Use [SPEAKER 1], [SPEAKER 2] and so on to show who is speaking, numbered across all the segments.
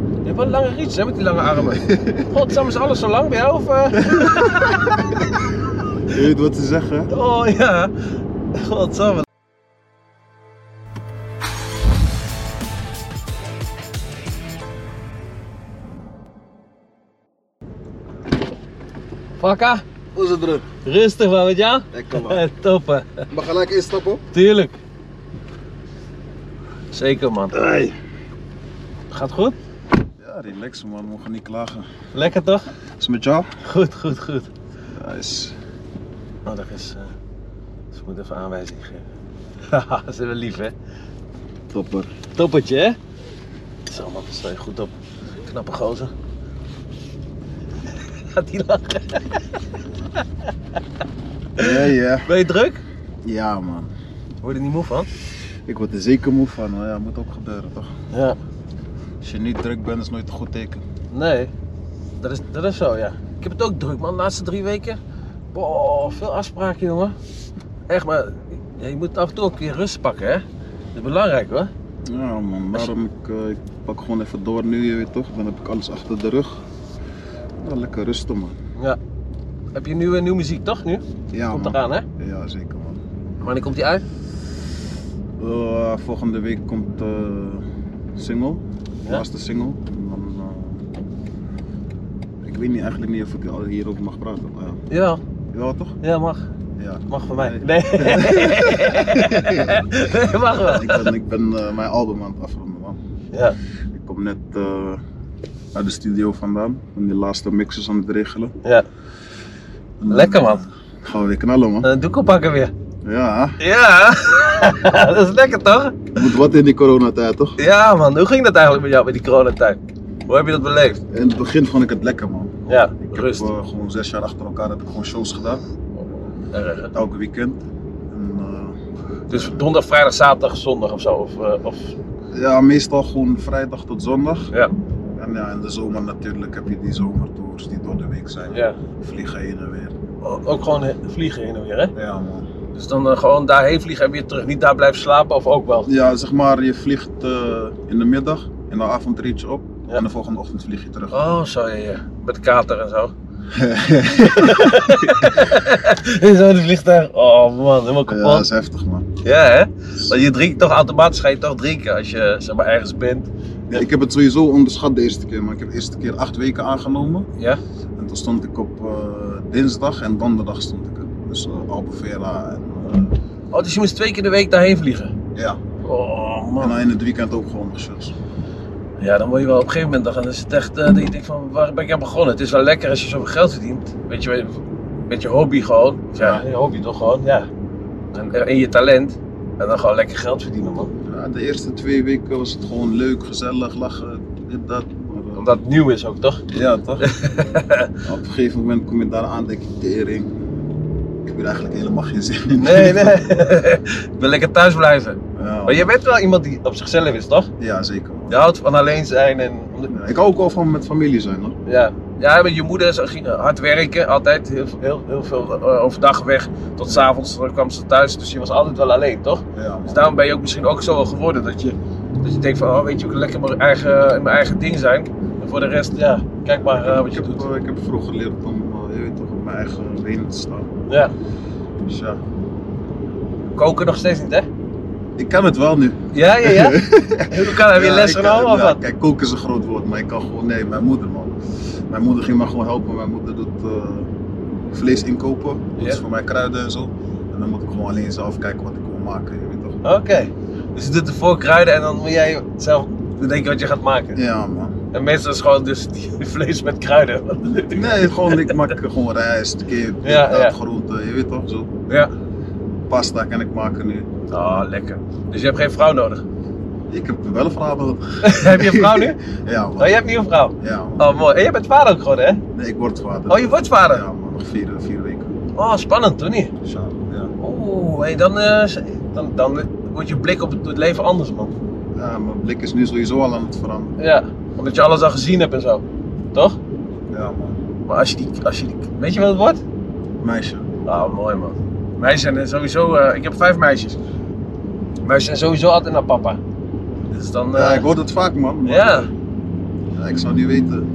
[SPEAKER 1] hebt wel een lange rietjes hè, met die lange armen. Godsamme, is alles zo lang bij jou? Of, eh?
[SPEAKER 2] Je weet wat ze zeggen.
[SPEAKER 1] Oh ja. Godsamme. Fakka,
[SPEAKER 2] Hoe is het druk?
[SPEAKER 1] rustig man met jou?
[SPEAKER 2] Lekker man.
[SPEAKER 1] Toppen,
[SPEAKER 2] Maar gelijk instappen?
[SPEAKER 1] tuurlijk. Zeker man.
[SPEAKER 2] Hey.
[SPEAKER 1] Gaat goed?
[SPEAKER 2] Ja, relax man, we gaan niet klagen.
[SPEAKER 1] Lekker toch?
[SPEAKER 2] Is het met jou?
[SPEAKER 1] Goed, goed, goed.
[SPEAKER 2] Nice.
[SPEAKER 1] Oh, dat is. eh, ze moet even aanwijzing geven. Haha, ze wel lief, hè?
[SPEAKER 2] Topper.
[SPEAKER 1] Toppertje, hè? Zo, man, sta je goed op. Knappe gozer. Gaat hij lachen?
[SPEAKER 2] Ja, ja.
[SPEAKER 1] Ben je druk?
[SPEAKER 2] Ja man.
[SPEAKER 1] Word je er niet moe van?
[SPEAKER 2] Ik word er zeker moe van, maar ja, moet ook gebeuren toch?
[SPEAKER 1] Ja.
[SPEAKER 2] Als je niet druk bent, is nooit een goed teken.
[SPEAKER 1] Nee, dat is, dat is zo, ja. Ik heb het ook druk, man, de laatste drie weken. Boah, veel afspraken, jongen. Echt, maar ja, je moet af en toe ook je rust pakken, hè? Dat is belangrijk, hoor.
[SPEAKER 2] Ja man, daarom ik, eh, ik pak gewoon even door nu, je weet toch? Dan heb ik alles achter de rug. Ja, lekker rusten man.
[SPEAKER 1] Ja. Heb je nieuwe, nieuwe muziek, toch, nu?
[SPEAKER 2] Ja
[SPEAKER 1] Komt
[SPEAKER 2] man.
[SPEAKER 1] eraan, hè?
[SPEAKER 2] Ja, zeker man.
[SPEAKER 1] Wanneer komt die uit?
[SPEAKER 2] Eh, volgende week komt de single, de
[SPEAKER 1] Ja?
[SPEAKER 2] laatste single. En dan, eh, ik weet niet eigenlijk niet of ik al hierover mag praten. maar ja.
[SPEAKER 1] Jawel.
[SPEAKER 2] Jawel toch?
[SPEAKER 1] Ja, mag.
[SPEAKER 2] Ja.
[SPEAKER 1] Mag van mij. Nee. nee, mag wel.
[SPEAKER 2] ik ben, ik ben eh, mijn album aan het afronden man.
[SPEAKER 1] Ja.
[SPEAKER 2] Ik kom net eh, uit de studio vandaan. Ik ben die laatste mixes aan het regelen.
[SPEAKER 1] ja.
[SPEAKER 2] En dan,
[SPEAKER 1] Lekker man.
[SPEAKER 2] eh, gaan we weer knallen man.
[SPEAKER 1] Eh, doekel pakken weer.
[SPEAKER 2] Ja,
[SPEAKER 1] Ja. dat is lekker toch?
[SPEAKER 2] hè. moet wat in die coronatijd toch?
[SPEAKER 1] Ja man, hoe ging dat eigenlijk met jou met die coronatijd? Hoe heb je dat beleefd?
[SPEAKER 2] In het begin vond ik het lekker man.
[SPEAKER 1] Ja,
[SPEAKER 2] Ik heb
[SPEAKER 1] rust.
[SPEAKER 2] eh, gewoon zes jaar achter elkaar heb ik gewoon shows gedaan.
[SPEAKER 1] Erg, hè?
[SPEAKER 2] Elke weekend. En, eh,
[SPEAKER 1] Dus donderdag, vrijdag, zaterdag, zondag of zo? Of, eh, of...
[SPEAKER 2] Ja, meestal gewoon vrijdag tot zondag.
[SPEAKER 1] Ja.
[SPEAKER 2] En ja, in de zomer natuurlijk heb je die zomertours die door de week zijn.
[SPEAKER 1] ja.
[SPEAKER 2] Vliegen heen en weer.
[SPEAKER 1] O- Ook gewoon he- vliegen heen en weer, hè?
[SPEAKER 2] Ja, man.
[SPEAKER 1] Dus dan eh, gewoon daarheen vliegen en weer terug. Niet daar blijven slapen of ook wel?
[SPEAKER 2] Ja, zeg maar, je vliegt eh, in de middag, in de avond reed je op
[SPEAKER 1] Ja.
[SPEAKER 2] en de volgende ochtend vlieg je terug.
[SPEAKER 1] Oh, zo ja, ja. Met kater en zo. En zo in het vliegtuig. Oh man, helemaal
[SPEAKER 2] ja, dat
[SPEAKER 1] kapot.
[SPEAKER 2] is heftig, man.
[SPEAKER 1] Ja, hè? Want je drinkt toch automatisch, ga je toch drinken als je zeg maar ergens bent.
[SPEAKER 2] Ja, ik heb het sowieso onderschat de eerste keer, maar ik heb de eerste keer acht weken aangenomen.
[SPEAKER 1] Ja?
[SPEAKER 2] En toen stond ik op eh, dinsdag en donderdag stond ik er. Dus eh, Albufeira en eh,
[SPEAKER 1] Oh, dus je moest twee keer de week daarheen vliegen.
[SPEAKER 2] ja.
[SPEAKER 1] Oh
[SPEAKER 2] En dan
[SPEAKER 1] man.
[SPEAKER 2] in het weekend ook gewoon nog shows.
[SPEAKER 1] Ja, dan word je wel op een gegeven moment, dan gaan- dan is het echt, eh, dat je denkt van waar ben ik aan begonnen? Het is wel lekker als je zoveel geld verdient. Weet je, een beetje hobby gewoon. Ja, je hobby toch gewoon, ja. En, en je talent. En dan gewoon lekker geld verdienen man.
[SPEAKER 2] Ja, de eerste twee weken was het gewoon leuk, gezellig, lachen, dit, dat. Maar, eh,
[SPEAKER 1] Omdat het nieuw is ook toch?
[SPEAKER 2] Ja, toch? Op een gegeven moment kom je daar aan, denk je, tering. Ik heb hier eigenlijk helemaal geen zin in.
[SPEAKER 1] Nee, nee. ik wil lekker thuis blijven.
[SPEAKER 2] Ja,
[SPEAKER 1] Maar je bent wel iemand die op zichzelf is, toch?
[SPEAKER 2] ja, zeker. man.
[SPEAKER 1] Je houdt van alleen zijn en
[SPEAKER 2] Ja, Ik hou ook wel van met familie zijn hoor.
[SPEAKER 1] Ja, ja maar je moeder is- ging hard werken, altijd heel, heel, heel veel eh, overdag weg. Tot s'avonds kwam ze thuis, dus je was altijd wel alleen, toch?
[SPEAKER 2] Ja, man.
[SPEAKER 1] Dus daarom ben je ook misschien ook zo wel geworden dat je, dat je denkt van, oh weet je, ik kan lekker mijn eigen, in mijn eigen ding zijn. En voor de rest, ja, kijk maar eh,
[SPEAKER 2] ik,
[SPEAKER 1] wat je
[SPEAKER 2] heb,
[SPEAKER 1] doet.
[SPEAKER 2] eh, ik heb vroeg geleerd om eh, je weet toch, op mijn eigen benen te staan.
[SPEAKER 1] Ja.
[SPEAKER 2] Dus ja,
[SPEAKER 1] Koken nog steeds niet, hè?
[SPEAKER 2] ik kan het wel nu.
[SPEAKER 1] Ja, ja, ja. Hoe kan hij weer
[SPEAKER 2] Ja,
[SPEAKER 1] les
[SPEAKER 2] ik,
[SPEAKER 1] genomen
[SPEAKER 2] eh,
[SPEAKER 1] of
[SPEAKER 2] nou,
[SPEAKER 1] wat?
[SPEAKER 2] Kijk, koken is een groot woord, maar ik kan gewoon, nee, mijn moeder man. Mijn moeder ging me gewoon helpen. Mijn moeder doet eh, vlees inkopen, dat is
[SPEAKER 1] Ja.
[SPEAKER 2] voor mij kruiden en zo. En dan moet ik gewoon alleen zelf kijken wat ik wil maken, je weet toch.
[SPEAKER 1] Oké. Dus je doet ervoor kruiden en dan moet jij zelf bedenken wat je gaat maken.
[SPEAKER 2] Ja man.
[SPEAKER 1] En meestal is gewoon dus die vlees met kruiden.
[SPEAKER 2] Nee, gewoon, ik maak gewoon rijst, kip,
[SPEAKER 1] Ja,
[SPEAKER 2] dat,
[SPEAKER 1] ja.
[SPEAKER 2] groenten, je weet toch zo.
[SPEAKER 1] Ja.
[SPEAKER 2] Pasta kan ik maken nu.
[SPEAKER 1] Oh, lekker. Dus je hebt geen vrouw nodig?
[SPEAKER 2] Ik heb wel een verhaal nodig.
[SPEAKER 1] heb je een vrouw nu?
[SPEAKER 2] Ja
[SPEAKER 1] Oh,
[SPEAKER 2] man,
[SPEAKER 1] je hebt nu een vrouw?
[SPEAKER 2] ja man.
[SPEAKER 1] Oh, mooi. En jij bent vader ook geworden, hè?
[SPEAKER 2] Nee, ik word vader.
[SPEAKER 1] Oh, je wordt vader?
[SPEAKER 2] Ja man, nog vier, eh, vier weken.
[SPEAKER 1] Oh, spannend, toch niet?
[SPEAKER 2] Ja, ja.
[SPEAKER 1] Oeh, hey, dan, eh, dan, dan wordt je blik op het het leven anders, man.
[SPEAKER 2] ja, mijn blik is nu sowieso al aan het veranderen.
[SPEAKER 1] Ja, omdat je alles al gezien hebt en zo. Toch?
[SPEAKER 2] Ja man,
[SPEAKER 1] Maar als je die... Als je die weet je wat het wordt?
[SPEAKER 2] meisje.
[SPEAKER 1] Oh, mooi, man. Meisjes zijn sowieso... eh, ik heb vijf meisjes. Meisjes zijn sowieso altijd naar papa. Dus dan...
[SPEAKER 2] Ja,
[SPEAKER 1] eh,
[SPEAKER 2] ik hoor dat vaak man. maar-
[SPEAKER 1] ja.
[SPEAKER 2] Ja, Ja, ik zou niet weten.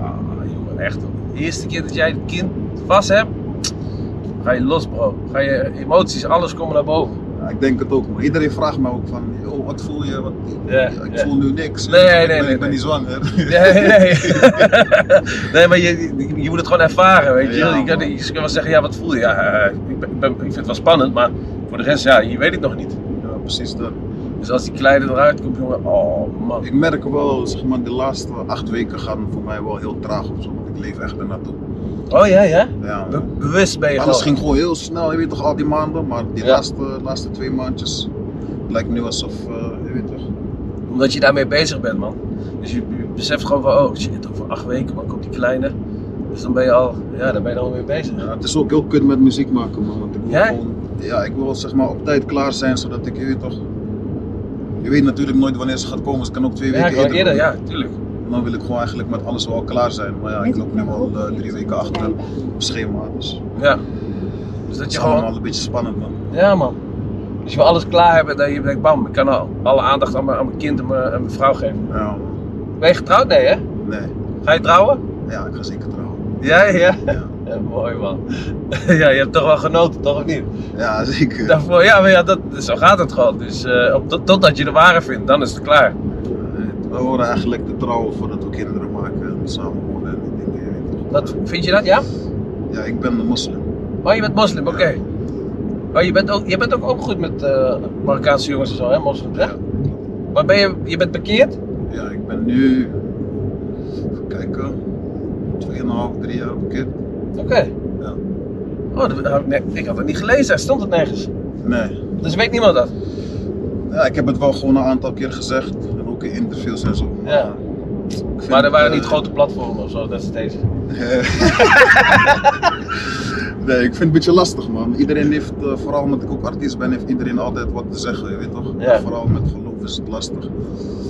[SPEAKER 1] Ah, jongen, echt. De eerste keer dat jij het kind vast hebt, ga je los, bro. Ga je emoties, alles komen naar boven.
[SPEAKER 2] Ja, ik denk het ook, man. Iedereen vraagt me ook van, joh, wat voel je? Wat...
[SPEAKER 1] Ja,
[SPEAKER 2] Ja, ik
[SPEAKER 1] ja.
[SPEAKER 2] voel nu niks.
[SPEAKER 1] Nee,
[SPEAKER 2] ik
[SPEAKER 1] nee, nee,
[SPEAKER 2] ben, Ik ben
[SPEAKER 1] nee.
[SPEAKER 2] niet zwanger.
[SPEAKER 1] Nee, nee. nee, maar je, je- je moet het gewoon ervaren, weet je.
[SPEAKER 2] Ja,
[SPEAKER 1] je, kan,
[SPEAKER 2] man.
[SPEAKER 1] je kan wel zeggen, ja, wat voel je? Ja, eh, ik, ben, ik ben- ik vind het wel spannend, maar voor de rest, ja, je weet het nog niet.
[SPEAKER 2] Ja, precies dat.
[SPEAKER 1] Dus als die kleine eruit komt, jongen, oh man.
[SPEAKER 2] Ik merk wel, zeg maar, de laatste acht weken gaan voor mij wel heel traag of zo, want ik leef echt ernaartoe.
[SPEAKER 1] Oh ja, ja?
[SPEAKER 2] Ja,
[SPEAKER 1] Be- bewust ben je
[SPEAKER 2] alles
[SPEAKER 1] gewoon.
[SPEAKER 2] ging gewoon heel snel, je weet toch, al die maanden, maar die
[SPEAKER 1] Ja.
[SPEAKER 2] laatste, laatste twee maandjes lijkt nu alsof, eh, je weet toch.
[SPEAKER 1] Omdat je daarmee bezig bent, man. Dus je, je beseft gewoon van, oh shit, over acht weken, man, komt die kleine. Dus dan ben je al, ja, dan ben je al mee bezig.
[SPEAKER 2] Ja, het is ook heel kut met muziek maken, man. Want ik wil
[SPEAKER 1] Ja?
[SPEAKER 2] gewoon, ja, ik wil zeg maar op tijd klaar zijn, zodat ik, je weet toch. Je weet natuurlijk nooit wanneer ze gaat komen, ze kan ook twee
[SPEAKER 1] Ja,
[SPEAKER 2] weken
[SPEAKER 1] ik wou
[SPEAKER 2] eerder.
[SPEAKER 1] eerder,
[SPEAKER 2] komen.
[SPEAKER 1] ja, tuurlijk.
[SPEAKER 2] En dan wil ik gewoon eigenlijk met alles wel klaar zijn. Maar ja, ik loop nu al eh, drie weken achter op schema, dus het
[SPEAKER 1] Ja. Dus dat
[SPEAKER 2] is
[SPEAKER 1] je gewoon,
[SPEAKER 2] allemaal een beetje spannend, man.
[SPEAKER 1] Ja, man. Dus je wil alles klaar hebben, dat je denkt, bam, ik kan al alle aandacht aan mijn, aan mijn kind en mijn, aan mijn vrouw geven.
[SPEAKER 2] Ja,
[SPEAKER 1] Ben je getrouwd? Nee, hè?
[SPEAKER 2] nee.
[SPEAKER 1] Ga je trouwen?
[SPEAKER 2] Ja, ik ga zeker trouwen.
[SPEAKER 1] Ja, ja.
[SPEAKER 2] Ja,
[SPEAKER 1] ja mooi, man. ja, je hebt toch wel genoten, toch of niet?
[SPEAKER 2] ja zeker.
[SPEAKER 1] Daarvoor, ja, maar ja, dat, zo gaat het gewoon. Dus eh, op, tot- totdat je de ware vindt, dan is het klaar.
[SPEAKER 2] Eh, We horen eigenlijk te trouwen voordat we kinderen maken en samen wonen en die dingen. je weet toch.
[SPEAKER 1] Dat, vind je dat, ja?
[SPEAKER 2] Ja, ik ben een moslim.
[SPEAKER 1] Oh, je bent moslim, oké. Oh, je bent, ook, je bent ook opgegroeid met eh, Marokkaanse jongens en zo, hè, moslims, hè?
[SPEAKER 2] Ja.
[SPEAKER 1] Maar ben je, je bent bekeerd?
[SPEAKER 2] Ja, ik ben nu, even kijken, 2,5, 3 jaar bekeerd.
[SPEAKER 1] Oké.
[SPEAKER 2] Ja.
[SPEAKER 1] Oh, dat, nou, nee, ik had het niet gelezen, er stond het nergens.
[SPEAKER 2] Nee,
[SPEAKER 1] Dus weet niemand dat?
[SPEAKER 2] ja, ik heb het wel gewoon een aantal keer gezegd en ook in interviews en zo. Maar,
[SPEAKER 1] Ja.
[SPEAKER 2] ik vind
[SPEAKER 1] Maar er
[SPEAKER 2] het,
[SPEAKER 1] waren
[SPEAKER 2] eh,
[SPEAKER 1] niet grote platformen of zo, dat is deze.
[SPEAKER 2] nee, ik vind het een beetje lastig man. Iedereen heeft, eh, vooral omdat ik ook artiest ben, heeft iedereen altijd wat te zeggen, je weet toch?
[SPEAKER 1] Ja.
[SPEAKER 2] Vooral met geloof is het lastig.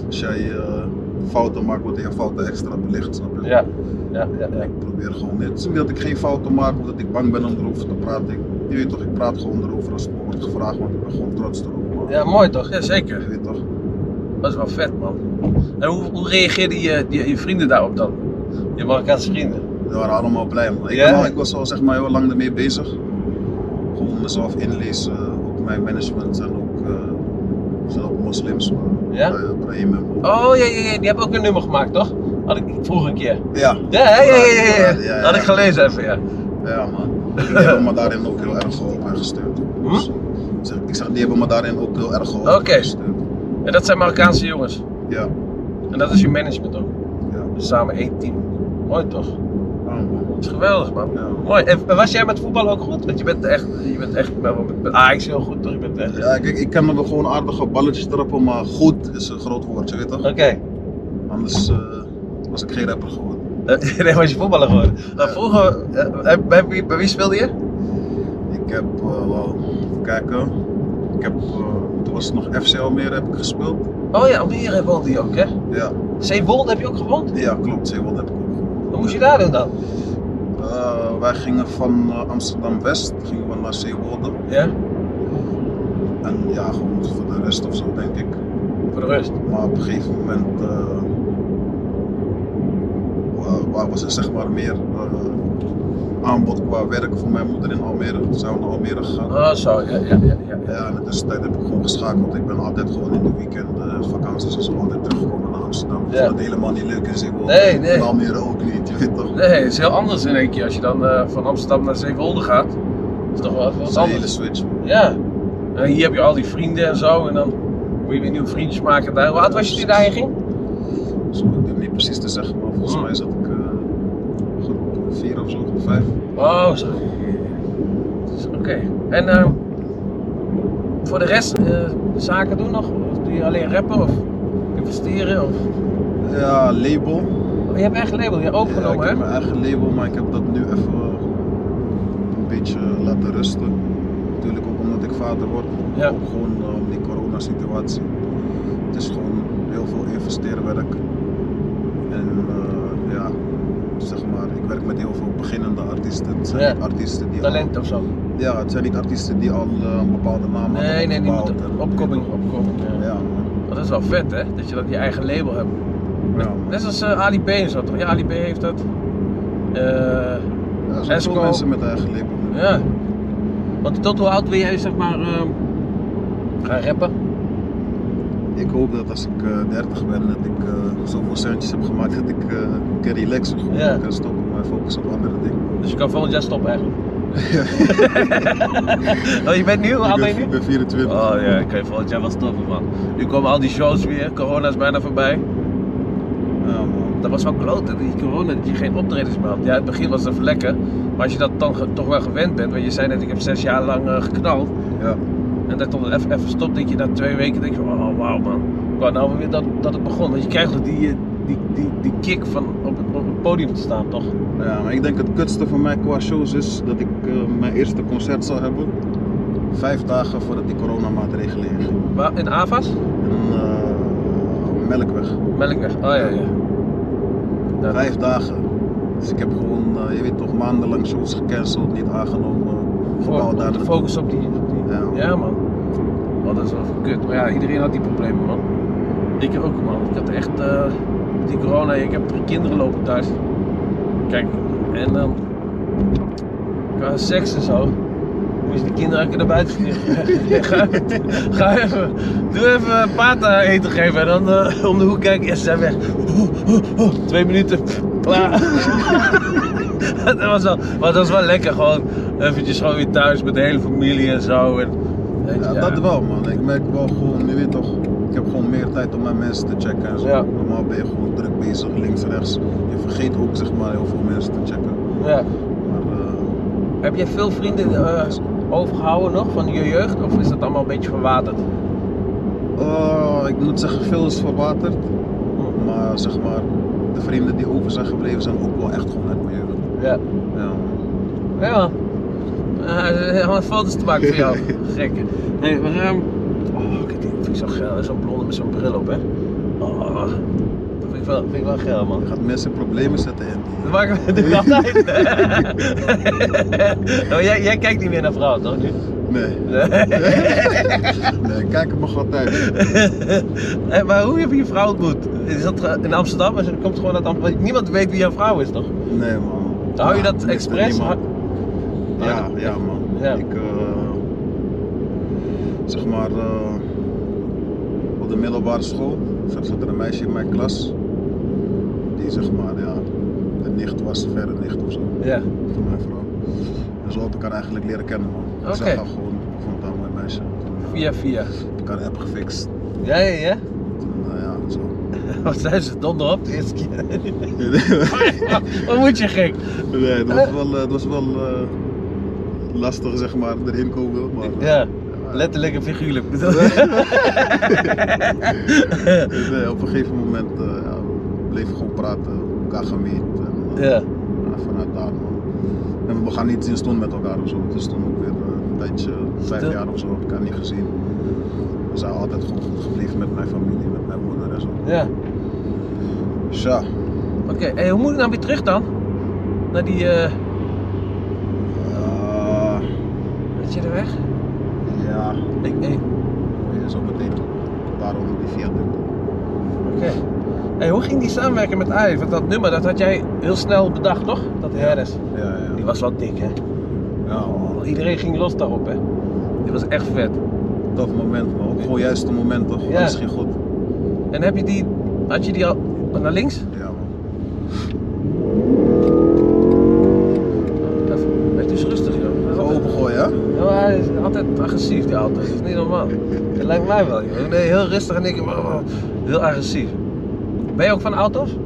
[SPEAKER 2] Als jij eh, fouten maakt, wordt je fouten extra belicht, snap je?
[SPEAKER 1] Ja, ja, ja. ja.
[SPEAKER 2] Ik probeer gewoon, het is niet dat ik geen fouten maak of dat ik bang ben om erover te praten. Ik, je weet toch, ik praat gewoon erover als het me wordt gevraagd, want ik ben gewoon trots erop. Maar,
[SPEAKER 1] Ja, mooi toch? Ja,
[SPEAKER 2] Je
[SPEAKER 1] zeker.
[SPEAKER 2] weet toch?
[SPEAKER 1] Dat is wel vet, man. En hoe, hoe reageerden je, die- je vrienden daarop dan? Je Marokkaanse vrienden?
[SPEAKER 2] We waren allemaal blij man. Ik,
[SPEAKER 1] Ja?
[SPEAKER 2] ben al- ik was al zeg maar heel lang ermee bezig. Gewoon mezelf inlezen, ook mijn management en ook, eh zijn ook moslims. Maar,
[SPEAKER 1] Ja?
[SPEAKER 2] eh, Brahim en Bob.
[SPEAKER 1] Oh, ja, ja, ja, die hebben ook een nummer gemaakt, toch? Had ik vroeger een keer.
[SPEAKER 2] Ja,
[SPEAKER 1] Ja, ja, ja, ja, ja,
[SPEAKER 2] Ja, ja, ja.
[SPEAKER 1] Had ik gelezen even, ja.
[SPEAKER 2] ja man. Die hebben me daarin ook heel erg geholpen en gesteund. Dus, ik zeg- ik zeg, die hebben me daarin ook heel erg geholpen
[SPEAKER 1] Hm? Oké.
[SPEAKER 2] en gesteund.
[SPEAKER 1] En dat zijn Marokkaanse jongens.
[SPEAKER 2] Ja,
[SPEAKER 1] En dat is je management ook.
[SPEAKER 2] ja.
[SPEAKER 1] Dus samen één team. Mooi toch?
[SPEAKER 2] Ja, man.
[SPEAKER 1] Dat is geweldig, man.
[SPEAKER 2] Ja.
[SPEAKER 1] Mooi. En was jij met voetbal ook goed? Want je bent echt, je bent echt met, met Ajax heel goed, toch? Je bent echt...
[SPEAKER 2] Ja, kijk, ik kan me wel gewoon aardige balletjes trappen, maar goed is een groot woord, je weet toch?
[SPEAKER 1] Oké.
[SPEAKER 2] Anders eh, was ik geen rapper geworden.
[SPEAKER 1] Eh, nee, was je voetballer geworden. Nou, vroeger, eh, eh, bij, wie, bij wie speelde je?
[SPEAKER 2] Ik heb, eh, wel, even kijken, ik heb, eh, toen was het nog FC Almere heb ik gespeeld.
[SPEAKER 1] Oh ja, Almere woonde je ook, hè?
[SPEAKER 2] Ja,
[SPEAKER 1] Zeewolde heb je ook gewoond?
[SPEAKER 2] ja klopt, Zeewolde heb ik ook gewonnen.
[SPEAKER 1] Wat moest je daar doen dan?
[SPEAKER 2] Eh, wij gingen van eh, Amsterdam-West, gingen we naar Zeewolde.
[SPEAKER 1] Ja,
[SPEAKER 2] En ja, gewoon voor de rest of zo, denk ik.
[SPEAKER 1] voor de rust.
[SPEAKER 2] Maar op een gegeven moment eh, wa- wa- was er zeg maar meer eh, aanbod qua werk voor mijn moeder in Almere. Toen zijn we naar Almere gegaan.
[SPEAKER 1] Oh, zo, ja, ja, ja. ja.
[SPEAKER 2] Ja, in de tussentijd heb ik gewoon geschakeld. Ik ben altijd gewoon in de weekenden, vakanties en zo, altijd teruggekomen naar Amsterdam.
[SPEAKER 1] Ja.
[SPEAKER 2] Ja. Dat helemaal niet leuk is. Ik wil-
[SPEAKER 1] Nee, nee.
[SPEAKER 2] In Almere ook niet, je weet toch?
[SPEAKER 1] Nee, het is heel anders in één keer als je dan eh, van Amsterdam naar Zeewolde gaat. Dat is toch wel even
[SPEAKER 2] Dat
[SPEAKER 1] wat
[SPEAKER 2] is een hele
[SPEAKER 1] anders.
[SPEAKER 2] switch.
[SPEAKER 1] Ja. En hier heb je al die vrienden en zo en dan moet je weer nieuwe vriendjes maken. Daar. Hoe oud was je toen je daarheen ging?
[SPEAKER 2] Zo, ik durf niet precies te zeggen, maar volgens
[SPEAKER 1] Hmm.
[SPEAKER 2] mij zat ik eh, groep 4 of zo, groep 5.
[SPEAKER 1] Oh, zo. Dus, Oké. En ehm, voor de rest, eh, zaken doen nog? Of doe je alleen rappen of investeren? Of...
[SPEAKER 2] Ja, label.
[SPEAKER 1] Oh, je hebt eigen label, je hebt
[SPEAKER 2] Ja, ik
[SPEAKER 1] opgenomen,
[SPEAKER 2] heb
[SPEAKER 1] hè?
[SPEAKER 2] mijn eigen label, maar ik heb dat nu even een beetje laten rusten. Natuurlijk ook omdat ik vader word.
[SPEAKER 1] Ja.
[SPEAKER 2] Ook gewoon eh, om die coronasituatie. Het is gewoon heel veel investeerwerk. En eh, ja, zeg maar, ik werk met heel veel beginnende artiesten. Het zijn
[SPEAKER 1] Ja.
[SPEAKER 2] niet artiesten die
[SPEAKER 1] Talent of zo.
[SPEAKER 2] Al, ja, het zijn niet artiesten die al eh, een bepaalde naam hebben
[SPEAKER 1] Nee, nee, die
[SPEAKER 2] opgebouwd
[SPEAKER 1] moet
[SPEAKER 2] en-
[SPEAKER 1] opkoming, opkoming. Ja.
[SPEAKER 2] Ja, man.
[SPEAKER 1] Dat is wel vet, hè? Dat je dat je eigen label hebt.
[SPEAKER 2] Ja, man.
[SPEAKER 1] Net als eh, Ali B en zo toch? Ja, Ali B heeft dat. Eh,
[SPEAKER 2] Ja, er zijn
[SPEAKER 1] Esco.
[SPEAKER 2] veel mensen met eigen label.
[SPEAKER 1] ja. Want tot hoe oud wil jij zeg maar ehm, gaan rappen?
[SPEAKER 2] Ik hoop dat als ik eh 30 ben, dat ik eh zoveel centjes heb gemaakt dat ik eh kan relaxen. Gewoon
[SPEAKER 1] Ja.
[SPEAKER 2] kan stoppen maar focus op andere dingen.
[SPEAKER 1] Dus je kan volgend jaar stoppen eigenlijk. oh, je bent nu? Hoe
[SPEAKER 2] ik
[SPEAKER 1] oud ben je
[SPEAKER 2] ben,
[SPEAKER 1] nu?
[SPEAKER 2] ik ben 24.
[SPEAKER 1] Oh ja, ik kan volgend jaar wel stoppen man. Nu komen al die shows weer, corona is bijna voorbij.
[SPEAKER 2] Ja, man.
[SPEAKER 1] Dat was wel klote, die corona, dat je geen optredens meer had. Ja, in het begin was dat even lekker, maar als je dat dan ge- toch wel gewend bent, want je zei net ik heb zes jaar lang eh, geknald.
[SPEAKER 2] Ja.
[SPEAKER 1] En dat dan even, even stopt, denk je na twee weken, denk je van, oh wauw man. Ik wou nou weer dat, dat het begon, want je krijgt toch die, eh, die, die, die kick van op het, op het podium te staan toch?
[SPEAKER 2] ja, maar ik denk het kutste van mij qua shows is dat ik eh, mijn eerste concert zal hebben. Vijf dagen voordat die coronamaatregelen ingingen.
[SPEAKER 1] Maar in AVAS?
[SPEAKER 2] En eh, Melkweg.
[SPEAKER 1] Melkweg, oh ja ja. Ja,
[SPEAKER 2] Vijf dagen. Dus ik heb gewoon, eh, je weet toch, maandenlang shows gecanceld, niet aangenomen.
[SPEAKER 1] Voor,
[SPEAKER 2] Vooral
[SPEAKER 1] om
[SPEAKER 2] daar
[SPEAKER 1] te focussen op die, op die-
[SPEAKER 2] Ja.
[SPEAKER 1] Ja, man. Oh, dat is wel kut. Maar ja, iedereen had die problemen, man. Ik ook, man. Ik had echt eh, die corona. Ik heb drie kinderen lopen thuis. Kijk, en dan. qua seks en zo. Moest je de kinderen even naar buiten vliegen. ga, ga even. Doe even pata eten geven. En dan eh, om de hoek kijken. Ja, ze zijn weg. Twee minuten. pff, Klaar. dat, was wel, maar dat was wel lekker. Gewoon eventjes gewoon weer thuis met de hele familie en zo. En, weet je,
[SPEAKER 2] Ja, dat wel man. Ik merk wel gewoon, je weet toch, ik heb gewoon meer tijd om mijn mensen te checken en zo.
[SPEAKER 1] Ja.
[SPEAKER 2] Normaal ben je gewoon druk bezig, links, rechts. Je vergeet ook zeg maar heel veel mensen te checken.
[SPEAKER 1] Ja.
[SPEAKER 2] Maar eh,
[SPEAKER 1] Heb jij veel vrienden eh, overgehouden nog van je jeugd? Of is dat allemaal een beetje verwaterd?
[SPEAKER 2] oh, ik moet zeggen, veel is verwaterd.
[SPEAKER 1] Hm.
[SPEAKER 2] Maar zeg maar, de vrienden die over zijn gebleven zijn ook wel echt gewoon uit mijn jeugd.
[SPEAKER 1] Ja.
[SPEAKER 2] Ja, man.
[SPEAKER 1] Ja. Eh, Er zijn allemaal foto's te maken voor jou. Gekke. Nee, maar... ehm, oh, kijk, die vind ik zo geil. Zo'n blonde met zo'n bril op, hè. Oh, dat vind ik wel, vind ik wel geil, man.
[SPEAKER 2] je gaat mensen in problemen zetten in.
[SPEAKER 1] Dat maken we natuurlijk altijd. oh, jij, jij kijkt niet meer naar vrouwen, toch? Nu?
[SPEAKER 2] Nee, nee, kijk het mag altijd.
[SPEAKER 1] Eh, maar hoe heb je je vrouw ontmoet? Is dat eh, in Amsterdam? Is- Komt gewoon uit Amsterdam? Niemand weet wie jouw vrouw is, toch?
[SPEAKER 2] Nee man.
[SPEAKER 1] Hou je
[SPEAKER 2] Ja,
[SPEAKER 1] dat
[SPEAKER 2] liefde
[SPEAKER 1] expres?
[SPEAKER 2] Ah, niemand.
[SPEAKER 1] Ah,
[SPEAKER 2] Ja,
[SPEAKER 1] dat-
[SPEAKER 2] ja man.
[SPEAKER 1] Ja.
[SPEAKER 2] Ik, eh, zeg maar, eh, op de middelbare school zat, zat er een meisje in mijn klas. Die zeg maar, ja, de nicht was, verre nicht of zo,
[SPEAKER 1] Ja.
[SPEAKER 2] van mijn vrouw. En zo heb ik haar eigenlijk leren kennen man.
[SPEAKER 1] Oké.
[SPEAKER 2] Ik zag haar gewoon, ik vond haar een mooi meisje. Toen, eh,
[SPEAKER 1] Via, via.
[SPEAKER 2] heb ik haar app gefixt.
[SPEAKER 1] Ja, ja, ja.
[SPEAKER 2] Toen, eh, ja, zo.
[SPEAKER 1] Wat zijn ze donder op de eerste keer? Wat moet je gek?
[SPEAKER 2] nee, dat was wel, eh, dat was wel eh, lastig zeg maar, erin komen. Maar, eh,
[SPEAKER 1] Ja, letterlijk en figuurlijk. bedoel je?
[SPEAKER 2] Dus, eh, op een gegeven moment eh, ja, we bleven gewoon praten, elkaar gemeten. En, eh,
[SPEAKER 1] Ja,
[SPEAKER 2] ja, vanuit daar, man. En we gaan niet zien stond met elkaar of zo. Het is toen ook weer eh, een tijdje, vijf
[SPEAKER 1] Stil.
[SPEAKER 2] jaar of zo, heb ik haar niet gezien. We zijn altijd gewoon goed gebleven met mijn familie, met mijn moeder en zo.
[SPEAKER 1] ja.
[SPEAKER 2] Dus ja,
[SPEAKER 1] Oké, hey, hoe moet ik nou weer terug dan? Naar die, eh,
[SPEAKER 2] eh,
[SPEAKER 1] weet je de weg?
[SPEAKER 2] ja,
[SPEAKER 1] Ik, hey,
[SPEAKER 2] moet je zo meteen daaronder die viaduct.
[SPEAKER 1] oké. Hey, hoe ging die samenwerking met Ajax? Want dat nummer, dat had jij heel snel bedacht, toch? Dat Herres.
[SPEAKER 2] Ja, ja.
[SPEAKER 1] Die was wel dik, hè?
[SPEAKER 2] ja man.
[SPEAKER 1] Iedereen ging los daarop, hè? Die was echt vet.
[SPEAKER 2] tof moment, maar ook gewoon juist het moment toch?
[SPEAKER 1] Ja.
[SPEAKER 2] Dat is geen goed.
[SPEAKER 1] En heb je die, had je die al naar links?
[SPEAKER 2] Ja man.
[SPEAKER 1] Even, blijf eens dus rustig, joh.
[SPEAKER 2] Even opengooien hè?
[SPEAKER 1] Ja, maar hij is altijd agressief, die auto. Dat is niet normaal. Dat lijkt mij wel, joh. Nee, heel rustig en ik maar maar heel agressief. Ben je ook van auto's?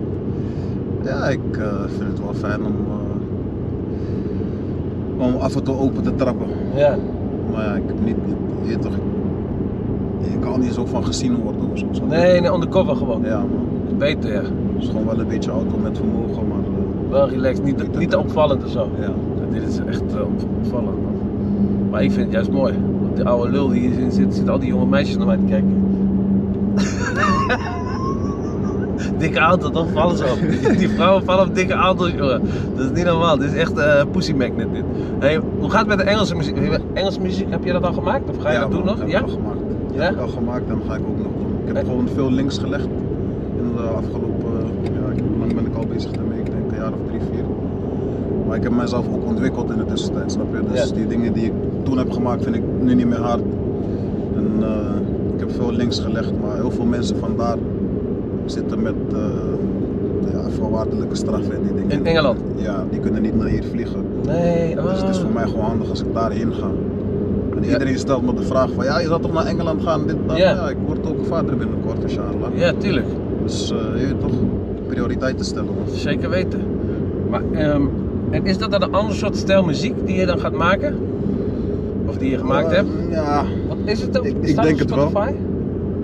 [SPEAKER 2] Ja, ik eh, vind het wel fijn om, eh, om af en toe open te trappen.
[SPEAKER 1] Ja.
[SPEAKER 2] Maar ja, ik heb niet, ik- je weet toch, je kan niet zo van gezien worden of zo. snap je?
[SPEAKER 1] Nee, nee, undercover gewoon.
[SPEAKER 2] Ja, man.
[SPEAKER 1] Beter, ja.
[SPEAKER 2] Het is gewoon wel een beetje auto met vermogen, maar eh,
[SPEAKER 1] Wel relaxed, niet, niet te opvallend of zo.
[SPEAKER 2] ja.
[SPEAKER 1] Ja, dit is echt eh, opvallend, man. Maar ik vind het juist mooi. Want die oude lul die hierin zit, zit al die jonge meisjes naar mij te kijken. dikke auto, dan vallen ze op. Die- Die vrouwen vallen op dikke auto's, jongen. Dat is niet normaal. Dit is echt eh pussy magnet, dit. Hey, hoe gaat het met de Engelse muziek? Engelse muziek, heb je dat al gemaakt? Of ga je
[SPEAKER 2] ja,
[SPEAKER 1] dat doen
[SPEAKER 2] man,
[SPEAKER 1] nog?
[SPEAKER 2] Heb
[SPEAKER 1] Ja?
[SPEAKER 2] ik al gemaakt.
[SPEAKER 1] Ja? Eh?
[SPEAKER 2] Heb ik al gemaakt en ga ik ook nog doen. Ik heb
[SPEAKER 1] En-
[SPEAKER 2] gewoon veel links gelegd in de afgelopen eh, ik heb mijzelf ook ontwikkeld in de tussentijd, snap je? Dus
[SPEAKER 1] Ja.
[SPEAKER 2] die dingen die ik toen heb gemaakt vind ik nu niet meer hard. En eh, ik heb veel links gelegd, maar heel veel mensen vandaar zitten met eh ja, voorwaardelijke straffen en die dingen.
[SPEAKER 1] In Engeland?
[SPEAKER 2] Ja, die kunnen niet naar hier vliegen.
[SPEAKER 1] Nee,
[SPEAKER 2] Dus het is
[SPEAKER 1] ah.
[SPEAKER 2] voor mij gewoon handig als ik daarheen ga. En
[SPEAKER 1] Ja.
[SPEAKER 2] iedereen stelt me de vraag van ja, je zou toch naar Engeland gaan? Dit, dat.
[SPEAKER 1] Ja.
[SPEAKER 2] Ja, ik word ook vader binnenkort, inshallah.
[SPEAKER 1] Ja, tuurlijk.
[SPEAKER 2] Dus eh, je weet toch, prioriteiten stellen.
[SPEAKER 1] Zeker weten. Maar, ehm, en is dat dan een ander soort stijl muziek die je dan gaat maken? Of die je gemaakt
[SPEAKER 2] Eh,
[SPEAKER 1] hebt?
[SPEAKER 2] Ja,
[SPEAKER 1] Wat is het dan?
[SPEAKER 2] ik- ik
[SPEAKER 1] Staat
[SPEAKER 2] denk
[SPEAKER 1] op
[SPEAKER 2] het wel.
[SPEAKER 1] Spotify?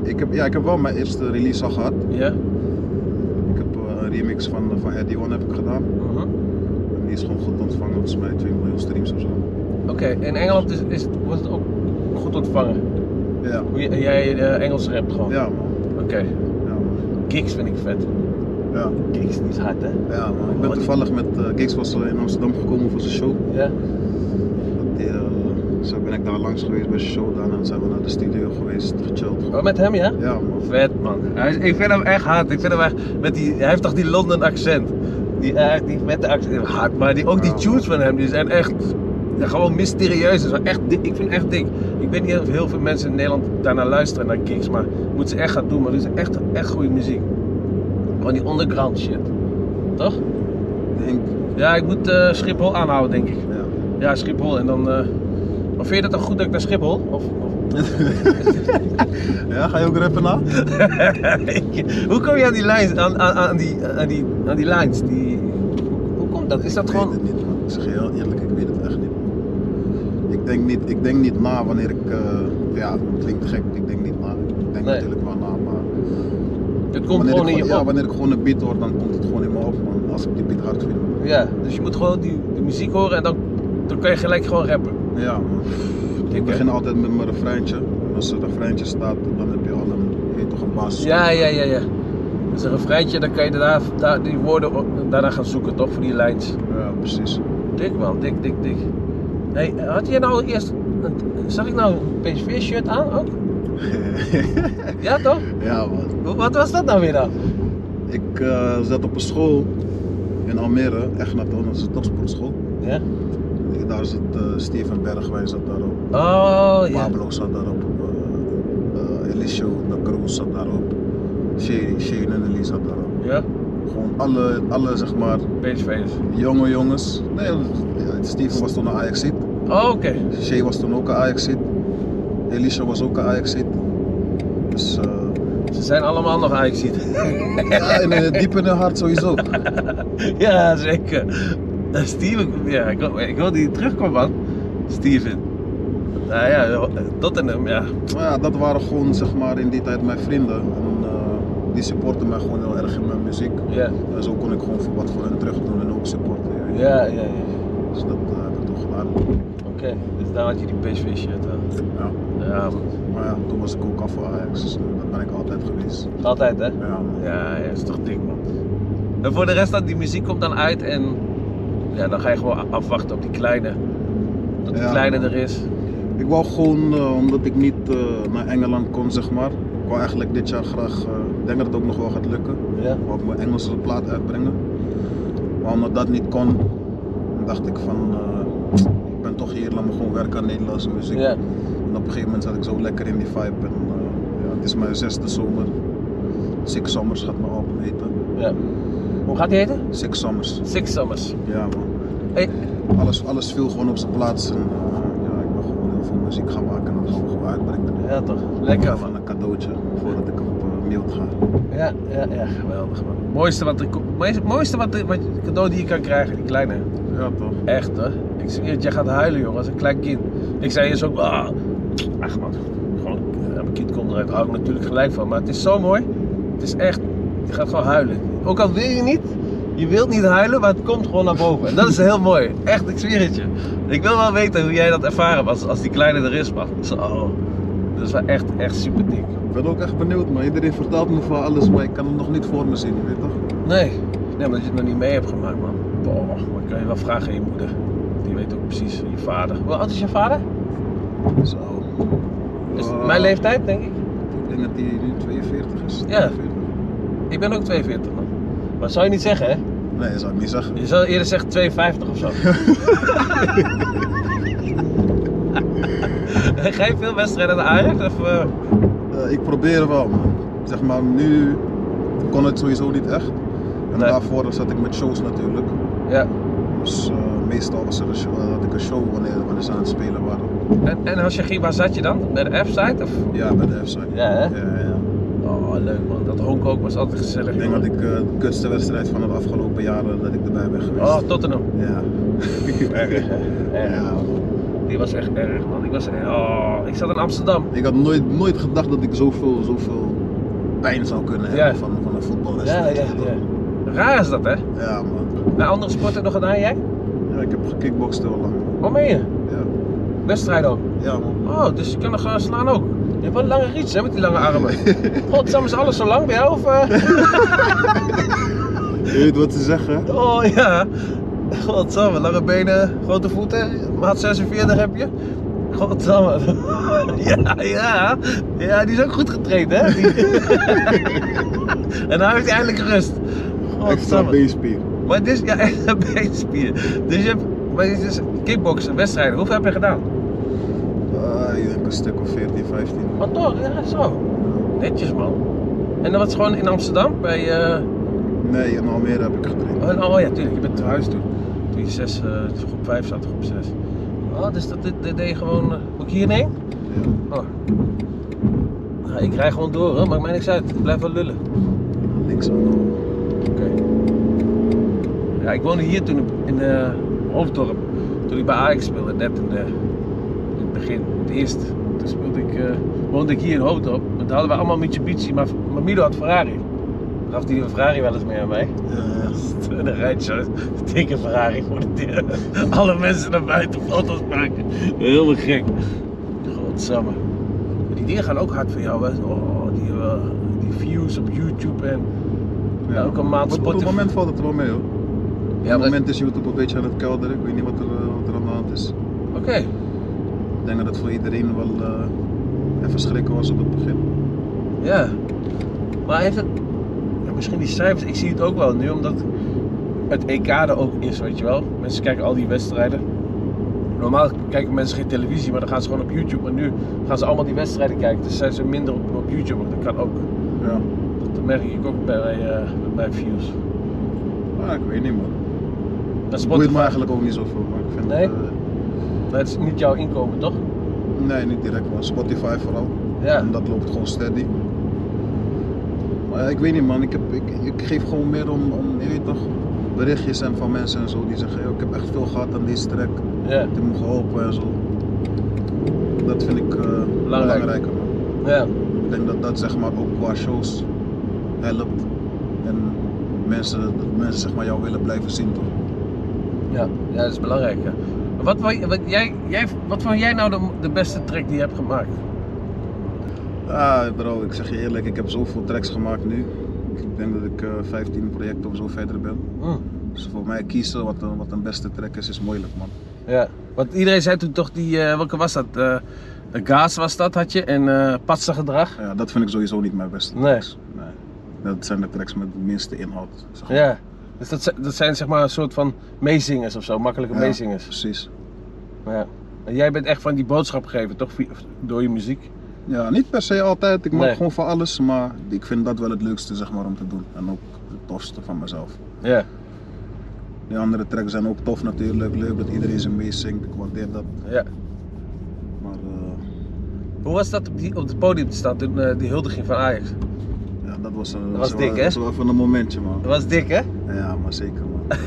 [SPEAKER 2] ik heb, ja, ik heb wel mijn eerste release al gehad.
[SPEAKER 1] Ja.
[SPEAKER 2] Ik heb eh, een remix van, van Eddie One heb ik gedaan.
[SPEAKER 1] Mhm.
[SPEAKER 2] En die is gewoon goed ontvangen, volgens mij 2 miljoen streams of zo.
[SPEAKER 1] Oké, in Engeland is, is, het- wordt het ook goed ontvangen.
[SPEAKER 2] Ja,
[SPEAKER 1] Hoe j- jij de Engels rapt gewoon.
[SPEAKER 2] ja man.
[SPEAKER 1] Oké.
[SPEAKER 2] Ja, man.
[SPEAKER 1] Gigs vind ik vet.
[SPEAKER 2] Ja,
[SPEAKER 1] Gigs die is hard hè?
[SPEAKER 2] ja, man. Ik ben toevallig met eh Gigs was eh, in Amsterdam gekomen voor zijn show.
[SPEAKER 1] Ja.
[SPEAKER 2] Die, eh, zo ben ik daar langs geweest bij zijn show. Daarna zijn we naar de studio geweest, gechilled.
[SPEAKER 1] Oh, met hem ja?
[SPEAKER 2] Ja man.
[SPEAKER 1] Vet man. Hij is- ik vind hem echt hard. Ik vind hem echt, met die, hij heeft toch die London accent. Die, eh, die vette accent. Hard. Maar die, ook die
[SPEAKER 2] Ja.
[SPEAKER 1] tunes van hem die zijn echt ja, gewoon mysterieus. Dat is wel echt dik. ik vind het echt dik. Ik weet niet of heel veel mensen in Nederland daarnaar luisteren naar gigs. Maar moeten ze echt gaan doen. Maar het is echt, echt goede muziek. Gewoon die underground shit. Toch?
[SPEAKER 2] Henk.
[SPEAKER 1] Ja, ik moet eh, Schiphol aanhouden denk ik.
[SPEAKER 2] Ja.
[SPEAKER 1] Ja, Schiphol. En dan... eh, maar vind je dat dan goed dat ik naar Schiphol? Of, of...
[SPEAKER 2] ja, ga je ook rappen nou? na?
[SPEAKER 1] hoe kom je aan die lijns, aan, aan, aan, die, aan, die, aan die lijns? Die, hoe- hoe komt dat? Is dat
[SPEAKER 2] Ik
[SPEAKER 1] gewoon...
[SPEAKER 2] weet het niet, man. Ik zeg je heel eerlijk, ik weet het echt niet. Ik denk niet, ik denk niet na wanneer ik. eh, ja, het klinkt gek, ik denk niet na. Ik denk
[SPEAKER 1] Nee.
[SPEAKER 2] natuurlijk wel na, maar.
[SPEAKER 1] Het komt
[SPEAKER 2] wanneer
[SPEAKER 1] gewoon
[SPEAKER 2] ik,
[SPEAKER 1] in je
[SPEAKER 2] ja,
[SPEAKER 1] op.
[SPEAKER 2] wanneer ik gewoon een beat hoor, dan komt het gewoon in me op, man. Als ik die beat hard vind.
[SPEAKER 1] Ja, dus je moet gewoon die, die muziek horen en dan, dan kan je gelijk gewoon rappen.
[SPEAKER 2] Ja, man. Ik
[SPEAKER 1] Oké.
[SPEAKER 2] begin altijd met mijn refreintje. En als er een refreintje staat, dan heb je al een, je weet toch een basis.
[SPEAKER 1] Ja, ja, ja, ja. Dus een refreintje, dan kan je daarna, daar, die woorden op- daarna gaan zoeken, toch? Voor die lijns.
[SPEAKER 2] Ja, precies.
[SPEAKER 1] Dik man, dik, dik, dik. Hey, had jij nou eerst... een- Zag ik nou een PSV-shirt aan ook? Ja, toch?
[SPEAKER 2] ja, man.
[SPEAKER 1] Hoe- Wat was dat nou weer dan?
[SPEAKER 2] Ik eh, zat op een school in Almere, echt naar dat is een topsportschool.
[SPEAKER 1] Ja?
[SPEAKER 2] Daar zat eh Steven Bergwijn zat daarop,
[SPEAKER 1] Oh, ja.
[SPEAKER 2] Pablo zat daarop, eh, eh, Elisio de Cruz zat daarop, Shane Shane en Elise zat daarop.
[SPEAKER 1] Ja?
[SPEAKER 2] Gewoon alle, alle zeg maar,
[SPEAKER 1] PSV'ers.
[SPEAKER 2] jonge jongens. Nee, ja, Steven was toen een ajax
[SPEAKER 1] Oh, oké.
[SPEAKER 2] Shay was toen ook een ajax Elisio was ook een ajax Dus eh,
[SPEAKER 1] Ze zijn allemaal nog Ajaxiet.
[SPEAKER 2] ja, en in het diep in hun hart sowieso.
[SPEAKER 1] ja, zeker. Eh, Steven, ja, ik, wil- ik wil die terugkomen, man. Steven. Nou ja, Tottenham, ja.
[SPEAKER 2] Maar Nou ja, dat waren gewoon zeg maar in die tijd mijn vrienden. En, eh, die supporten mij gewoon heel erg in mijn muziek.
[SPEAKER 1] Ja,
[SPEAKER 2] En zo kon ik gewoon voor wat voor hen terug doen en ook supporten. ja.
[SPEAKER 1] ja, ja. ja.
[SPEAKER 2] Dus dat eh, heb ik toen gedaan.
[SPEAKER 1] Oké, dus daar had je die PSV-shirt aan.
[SPEAKER 2] Ja.
[SPEAKER 1] Ja, man.
[SPEAKER 2] Maar ja, toen was ik ook al voor Ajax, dus dat ben ik altijd geweest.
[SPEAKER 1] Altijd, hè?
[SPEAKER 2] Ja, man.
[SPEAKER 1] Ja, ja, is toch dik, man. En voor de rest, dan, die muziek komt dan uit en... Ja, dan ga je gewoon afwachten op die kleine. Tot die
[SPEAKER 2] Ja.
[SPEAKER 1] kleine er is.
[SPEAKER 2] Ik wou gewoon, eh, omdat ik niet eh, naar Engeland kon, zeg maar. Ik wou eigenlijk dit jaar graag, eh, ik denk dat het ook nog wel gaat lukken.
[SPEAKER 1] Ja.
[SPEAKER 2] Ik wou ook mijn Engelse plaat uitbrengen. Maar omdat dat niet kon, dacht ik van, eh, ik ben toch hier, laat me gewoon werken aan Nederlandse muziek.
[SPEAKER 1] Ja.
[SPEAKER 2] En op een gegeven moment zat ik zo lekker in die vibe. En, eh, ja, het is mijn zesde zomer. Six Summers gaat mijn album heten.
[SPEAKER 1] ja. Hoe gaat die heten?
[SPEAKER 2] Six Summers.
[SPEAKER 1] Six Summers.
[SPEAKER 2] Ja man.
[SPEAKER 1] Hey,
[SPEAKER 2] Alles, alles viel gewoon op zijn plaats. En, eh, ja, ik ben gewoon heel veel muziek gaan maken en dat gaan we gewoon uitbrengen.
[SPEAKER 1] ja, toch. Lekker, man.
[SPEAKER 2] Van een cadeautje voordat ik op eh, mute ga.
[SPEAKER 1] Ja, ja, ja, geweldig man. Mooiste, wat er, ko- mooiste- mooiste wat, er- wat je- cadeau die je kan krijgen, die kleine.
[SPEAKER 2] Ja toch?
[SPEAKER 1] Echt hoor. Ik zweer het, jij gaat huilen jongen, als een klein kind. Ik zei eerst ook, ah, ach man, gewoon, ja, mijn kind komt eruit, daar hou ik natuurlijk gelijk van. Maar het is zo mooi, het is echt, je gaat gewoon huilen. Ook al wil je niet, je wilt niet huilen, maar het komt gewoon naar boven. En dat is heel mooi, echt, ik zweer het je. Ik wil wel weten hoe jij dat ervaren was als die kleine er is, man. Zo, dat is wel echt, echt super dik.
[SPEAKER 2] Ik ben ook echt benieuwd man. Iedereen vertelt me van alles, maar ik kan het nog niet voor me zien, je weet toch?
[SPEAKER 1] Nee, nee, omdat je het nog niet mee hebt gemaakt, man. Boah, maar kan je wel vragen aan je moeder. Die weet ook precies je vader. Hoe oud is je vader?
[SPEAKER 2] Zo.
[SPEAKER 1] Is het
[SPEAKER 2] Eh,
[SPEAKER 1] mijn leeftijd, denk ik.
[SPEAKER 2] Ik denk dat hij nu 42 is.
[SPEAKER 1] Ja.
[SPEAKER 2] 43.
[SPEAKER 1] Ik ben ook 42, man. Maar zou je niet zeggen, hè?
[SPEAKER 2] Nee, dat zou ik niet zeggen.
[SPEAKER 1] Je zou eerder zeggen 2,50 of zo. Ga je veel wedstrijden naar Ajax? Of, eh,
[SPEAKER 2] Eh, ik probeer wel, man. Zeg maar, nu kon het sowieso niet echt. En
[SPEAKER 1] Nee.
[SPEAKER 2] daarvoor zat ik met shows natuurlijk.
[SPEAKER 1] ja.
[SPEAKER 2] Dus eh, meestal was er een show, had ik een show wanneer, wanneer ze aan het spelen waren.
[SPEAKER 1] En, en als je ging, waar zat je dan? Bij de F-site? Of?
[SPEAKER 2] Ja, bij de FC.
[SPEAKER 1] Ja, hè?
[SPEAKER 2] Ja, ja.
[SPEAKER 1] Oh, leuk man. Dat honk ook was altijd gezellig.
[SPEAKER 2] Ik denk
[SPEAKER 1] man.
[SPEAKER 2] dat ik eh, de kutste wedstrijd van het afgelopen jaar eh, dat ik erbij ben geweest.
[SPEAKER 1] Oh, Tottenham.
[SPEAKER 2] Ja.
[SPEAKER 1] Erg,
[SPEAKER 2] ja.
[SPEAKER 1] erg. Die was echt erg, man. Ik, was, oh, ik zat in Amsterdam.
[SPEAKER 2] Ik had nooit, nooit gedacht dat ik zoveel, zoveel pijn zou kunnen hebben
[SPEAKER 1] Ja.
[SPEAKER 2] van, van een voetbalwedstrijd.
[SPEAKER 1] Raar is dat, hè?
[SPEAKER 2] Ja, man.
[SPEAKER 1] Naar andere sporten nog gedaan, jij?
[SPEAKER 2] Ja, ik heb gekickboxd heel lang.
[SPEAKER 1] Wat meen je?
[SPEAKER 2] Ja,
[SPEAKER 1] Wedstrijd ook.
[SPEAKER 2] ja man.
[SPEAKER 1] Oh, dus je kan nog gaan slaan ook. Je hebt wel lange riets, hè, met die lange armen. Godsamme, is alles zo lang bij jou? Of, eh?
[SPEAKER 2] Je weet wat ze zeggen?
[SPEAKER 1] Oh, ja. Godsamme, lange benen, grote voeten. Maat 46 heb je. Godsamme. Ja, ja. Ja, die is ook goed getraind, hè? Die- en dan heeft hij eindelijk rust. Oh,
[SPEAKER 2] Extra
[SPEAKER 1] Godsamme.
[SPEAKER 2] beenspier.
[SPEAKER 1] Maar dit is ja, echt een beenspier. Dus je hebt maar dit is kickboksen, wedstrijden. Hoeveel heb je gedaan?
[SPEAKER 2] Ah, ik denk een stuk of 14, 15.
[SPEAKER 1] Maar toch, ja, zo. Netjes man. En dan was het gewoon in Amsterdam bij. eh,
[SPEAKER 2] Nee, in Almere heb ik getraind.
[SPEAKER 1] oh, oh ja, tuurlijk, je bent te huis toen. Toen je zes, eh, toen groep 5 zat, groep 6. Oh, dus dat dit, dit deed je gewoon. eh, moet ik hier nemen?
[SPEAKER 2] Ja.
[SPEAKER 1] Oh. Ja, ik rij gewoon door, hoor. maakt mij niks uit. Ik blijf wel lullen.
[SPEAKER 2] Links aan de
[SPEAKER 1] Oké. Ja, ik woonde hier toen in eh Hoofddorp. Toen ik bij Ajax speelde, net in, de, in het begin, het eerst. Toen speelde ik, eh, woonde ik hier in Hoofddorp. Maar Toen hadden we allemaal Mitsubishi, maar maar Mido had Ferrari. Gaf die een Ferrari wel eens mee aan mij?
[SPEAKER 2] Ja,
[SPEAKER 1] En dan rijdt zo'n dikke Ferrari voor de deur. Alle mensen naar buiten foto's maken. Heel gek. Godsamme. Maar Die dingen gaan ook hard voor jou, hè? Oh, die, eh, die views op YouTube en
[SPEAKER 2] ja.
[SPEAKER 1] Elke maand
[SPEAKER 2] Op- Op het
[SPEAKER 1] Spotify.
[SPEAKER 2] moment valt het wel mee hoor. op
[SPEAKER 1] Ja,
[SPEAKER 2] het
[SPEAKER 1] maar-
[SPEAKER 2] moment is YouTube een beetje aan het kelderen. Ik weet niet wat er, eh, wat er aan de hand is.
[SPEAKER 1] Oké.
[SPEAKER 2] Ik denk dat het voor iedereen wel eh, even schrikken was op het begin.
[SPEAKER 1] Ja. Maar heeft het... Ja, misschien die cijfers, ik zie het ook wel nu, omdat het EK er ook is, weet je wel. Mensen kijken al die wedstrijden. Normaal kijken mensen geen televisie, maar dan gaan ze gewoon op YouTube. Maar nu gaan ze allemaal die wedstrijden kijken, dus zijn ze minder op, op YouTube. Maar Dat kan ook.
[SPEAKER 2] Ja.
[SPEAKER 1] Dat merk ik ook bij, eh, bij views.
[SPEAKER 2] Maar Ah, ik weet niet man.
[SPEAKER 1] Dat
[SPEAKER 2] Het boeit
[SPEAKER 1] Spotify,
[SPEAKER 2] me eigenlijk ook niet zoveel. Maar ik vind
[SPEAKER 1] Nee?
[SPEAKER 2] het, eh,
[SPEAKER 1] dat is niet jouw inkomen, toch?
[SPEAKER 2] nee, niet direct man. Spotify vooral.
[SPEAKER 1] Ja.
[SPEAKER 2] En dat loopt gewoon steady. Maar ja, ik weet niet man, ik, heb, ik, ik geef gewoon meer om, om je weet toch, berichtjes en van mensen en zo die zeggen, "Yo, ik heb echt veel gehad aan deze track, het
[SPEAKER 1] Ja.
[SPEAKER 2] heeft me geholpen en zo. Dat vind ik eh, belangrijker man.
[SPEAKER 1] ja.
[SPEAKER 2] Ik denk dat dat zeg maar ook qua shows helpt en mensen, dat mensen zeg maar jou willen blijven zien toch.
[SPEAKER 1] Ja, ja dat is belangrijk. ja. Wat, wou- wat, jij, jij, wat vond jij nou de, de beste track die je hebt gemaakt?
[SPEAKER 2] Ah bro, ik zeg je eerlijk, ik heb zoveel tracks gemaakt nu. Ik denk dat ik eh, 15 projecten of zo verder ben.
[SPEAKER 1] Hm.
[SPEAKER 2] Dus voor mij kiezen wat een, wat een beste track is, is moeilijk man.
[SPEAKER 1] Ja, want iedereen zei toen toch die, eh, welke was dat? Eh Gaas was dat, had je, en eh Patse gedrag.
[SPEAKER 2] Ja, dat vind ik sowieso niet mijn beste
[SPEAKER 1] Nee.
[SPEAKER 2] tracks. Nee. Dat zijn de tracks met de minste inhoud. Zeg maar.
[SPEAKER 1] Ja, dus dat, zi- dat zijn zeg maar een soort van meezingers of zo, makkelijke
[SPEAKER 2] Ja,
[SPEAKER 1] meezingers.
[SPEAKER 2] Precies.
[SPEAKER 1] Ja. En jij bent echt van die boodschap gegeven, toch? Via- Door je muziek.
[SPEAKER 2] Ja, niet per se altijd. Ik maak
[SPEAKER 1] Nee.
[SPEAKER 2] gewoon van alles, maar ik vind dat wel het leukste zeg maar, om te doen. En ook het tofste van mezelf.
[SPEAKER 1] Ja,
[SPEAKER 2] Die andere tracks zijn ook tof natuurlijk. Leuk dat iedereen ze meezingt. Ik waardeer dat.
[SPEAKER 1] ja.
[SPEAKER 2] Maar eh,
[SPEAKER 1] Hoe was dat op, die, op het podium te staan toen eh, die huldiging van Ajax?
[SPEAKER 2] ja, dat was, een,
[SPEAKER 1] Dat was
[SPEAKER 2] zo-
[SPEAKER 1] dik, hè?
[SPEAKER 2] was wel even een momentje man.
[SPEAKER 1] Dat was dik, hè?
[SPEAKER 2] Ja, maar zeker man.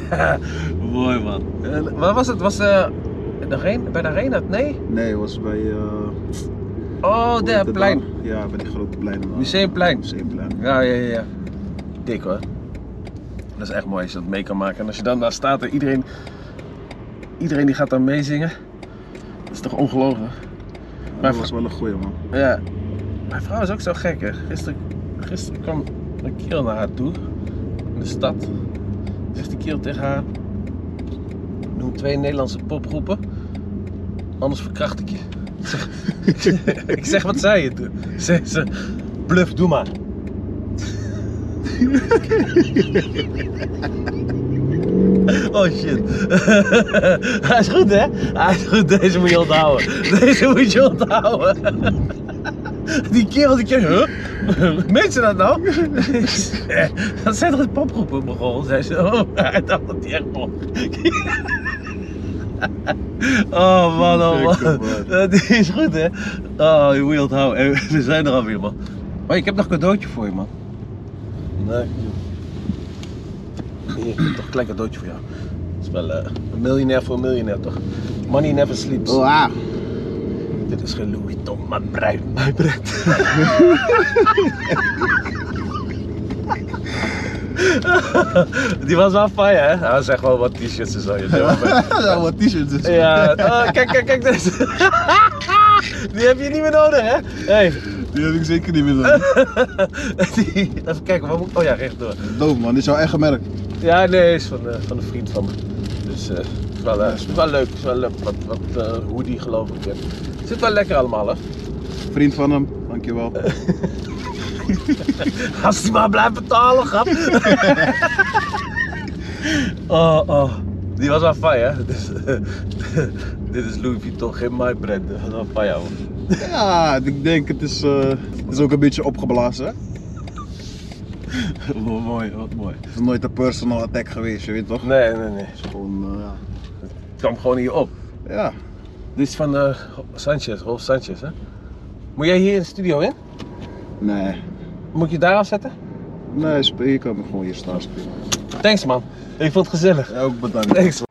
[SPEAKER 1] Mooi, man. waar was het? Was eh de arena, bij de Arena? Nee?
[SPEAKER 2] Nee, het was bij... eh,
[SPEAKER 1] Oh,
[SPEAKER 2] hoe heet
[SPEAKER 1] daar,
[SPEAKER 2] het
[SPEAKER 1] plein.
[SPEAKER 2] daar? Ja, bij die grote plein. eh,
[SPEAKER 1] Museumplein.
[SPEAKER 2] Museumplein.
[SPEAKER 1] Ja, ja, ja, ja. Dik hoor. Dat is echt mooi als je dat mee kan maken. En als je dan daar staat en iedereen, iedereen die gaat dan meezingen. Dat is toch ongelooflijk.
[SPEAKER 2] Ja,
[SPEAKER 1] Maar
[SPEAKER 2] dat was wel een goeie man.
[SPEAKER 1] Ja. Mijn vrouw is ook zo gek hè. Gisteren, gisteren kwam een kerel naar haar toe. In de stad. Zegt die kerel tegen haar. Noem twee Nederlandse popgroepen. Anders verkracht ik je. Ik zeg- ik zeg, wat zei je toen? Zei ze, bluff, doe maar. Oh shit. Hij is goed, hè? Hij is goed, deze moet je onthouden. Deze moet je onthouden. Die kerel, die kerel, huh? Meent ze dat nou? Eh, dat zijn toch popgroepen begonnen? Zei ze, oh, hij dacht dat die echt pop. Oh man, oh man. Eh, Die is goed, hè? Oh, je moet je onthouden. Eh, We zijn er alweer, man. Maar ik heb nog een cadeautje voor je, man.
[SPEAKER 3] Nee.
[SPEAKER 1] Hier, toch een klein cadeautje voor jou. Dat is wel eh, een miljonair voor een miljonair, toch? Money never sleeps.
[SPEAKER 2] Wow.
[SPEAKER 1] Dit is geen Louis Tom, maar bruin, mijn Brett. Die was wel fijn, hè? Hij was echt wel wat t-shirts en zo. je weet wel.
[SPEAKER 2] Ja, wat t-shirts is.
[SPEAKER 1] Ja, oh, kijk, kijk, kijk. Dit. Die heb je niet meer nodig, hè? Hey.
[SPEAKER 2] Die heb ik zeker niet meer nodig.
[SPEAKER 1] Die, even kijken, waar moet ik- Oh ja, rechtdoor.
[SPEAKER 2] Doof man, dit is jouw eigen merk.
[SPEAKER 1] Ja, nee, is van, eh, van een vriend van me. Dus eh, is wel, eh, is wel leuk, is wel leuk. Wat, wat eh, hoodie geloof ik. Het zit wel lekker allemaal, hè?
[SPEAKER 2] Vriend van hem, dankjewel.
[SPEAKER 1] Als hij maar blijft betalen, grap. oh, oh. Die was aan fijn, hè? Dus, eh, dit is Louis Vuitton, geen my brand. Dat was aan fijn, hoor.
[SPEAKER 2] Ja, ik denk het is, eh, het is ook een beetje opgeblazen. hè?
[SPEAKER 1] Wat mooi, wat mooi.
[SPEAKER 2] Het is nooit een personal attack geweest, je weet toch?
[SPEAKER 1] Nee, nee, nee.
[SPEAKER 2] Het is gewoon, eh, ja.
[SPEAKER 1] Het kwam gewoon hier op.
[SPEAKER 2] ja.
[SPEAKER 1] Dit is van eh, Sanchez, Rolf Sanchez, hè? Moet jij hier in de studio in?
[SPEAKER 2] Nee.
[SPEAKER 1] Moet ik je daar afzetten?
[SPEAKER 2] Nee, sp- je kan me gewoon hier staan spelen.
[SPEAKER 1] Thanks, man. Ik vond het gezellig.
[SPEAKER 2] Ja, ook bedankt.
[SPEAKER 1] Thanks, man.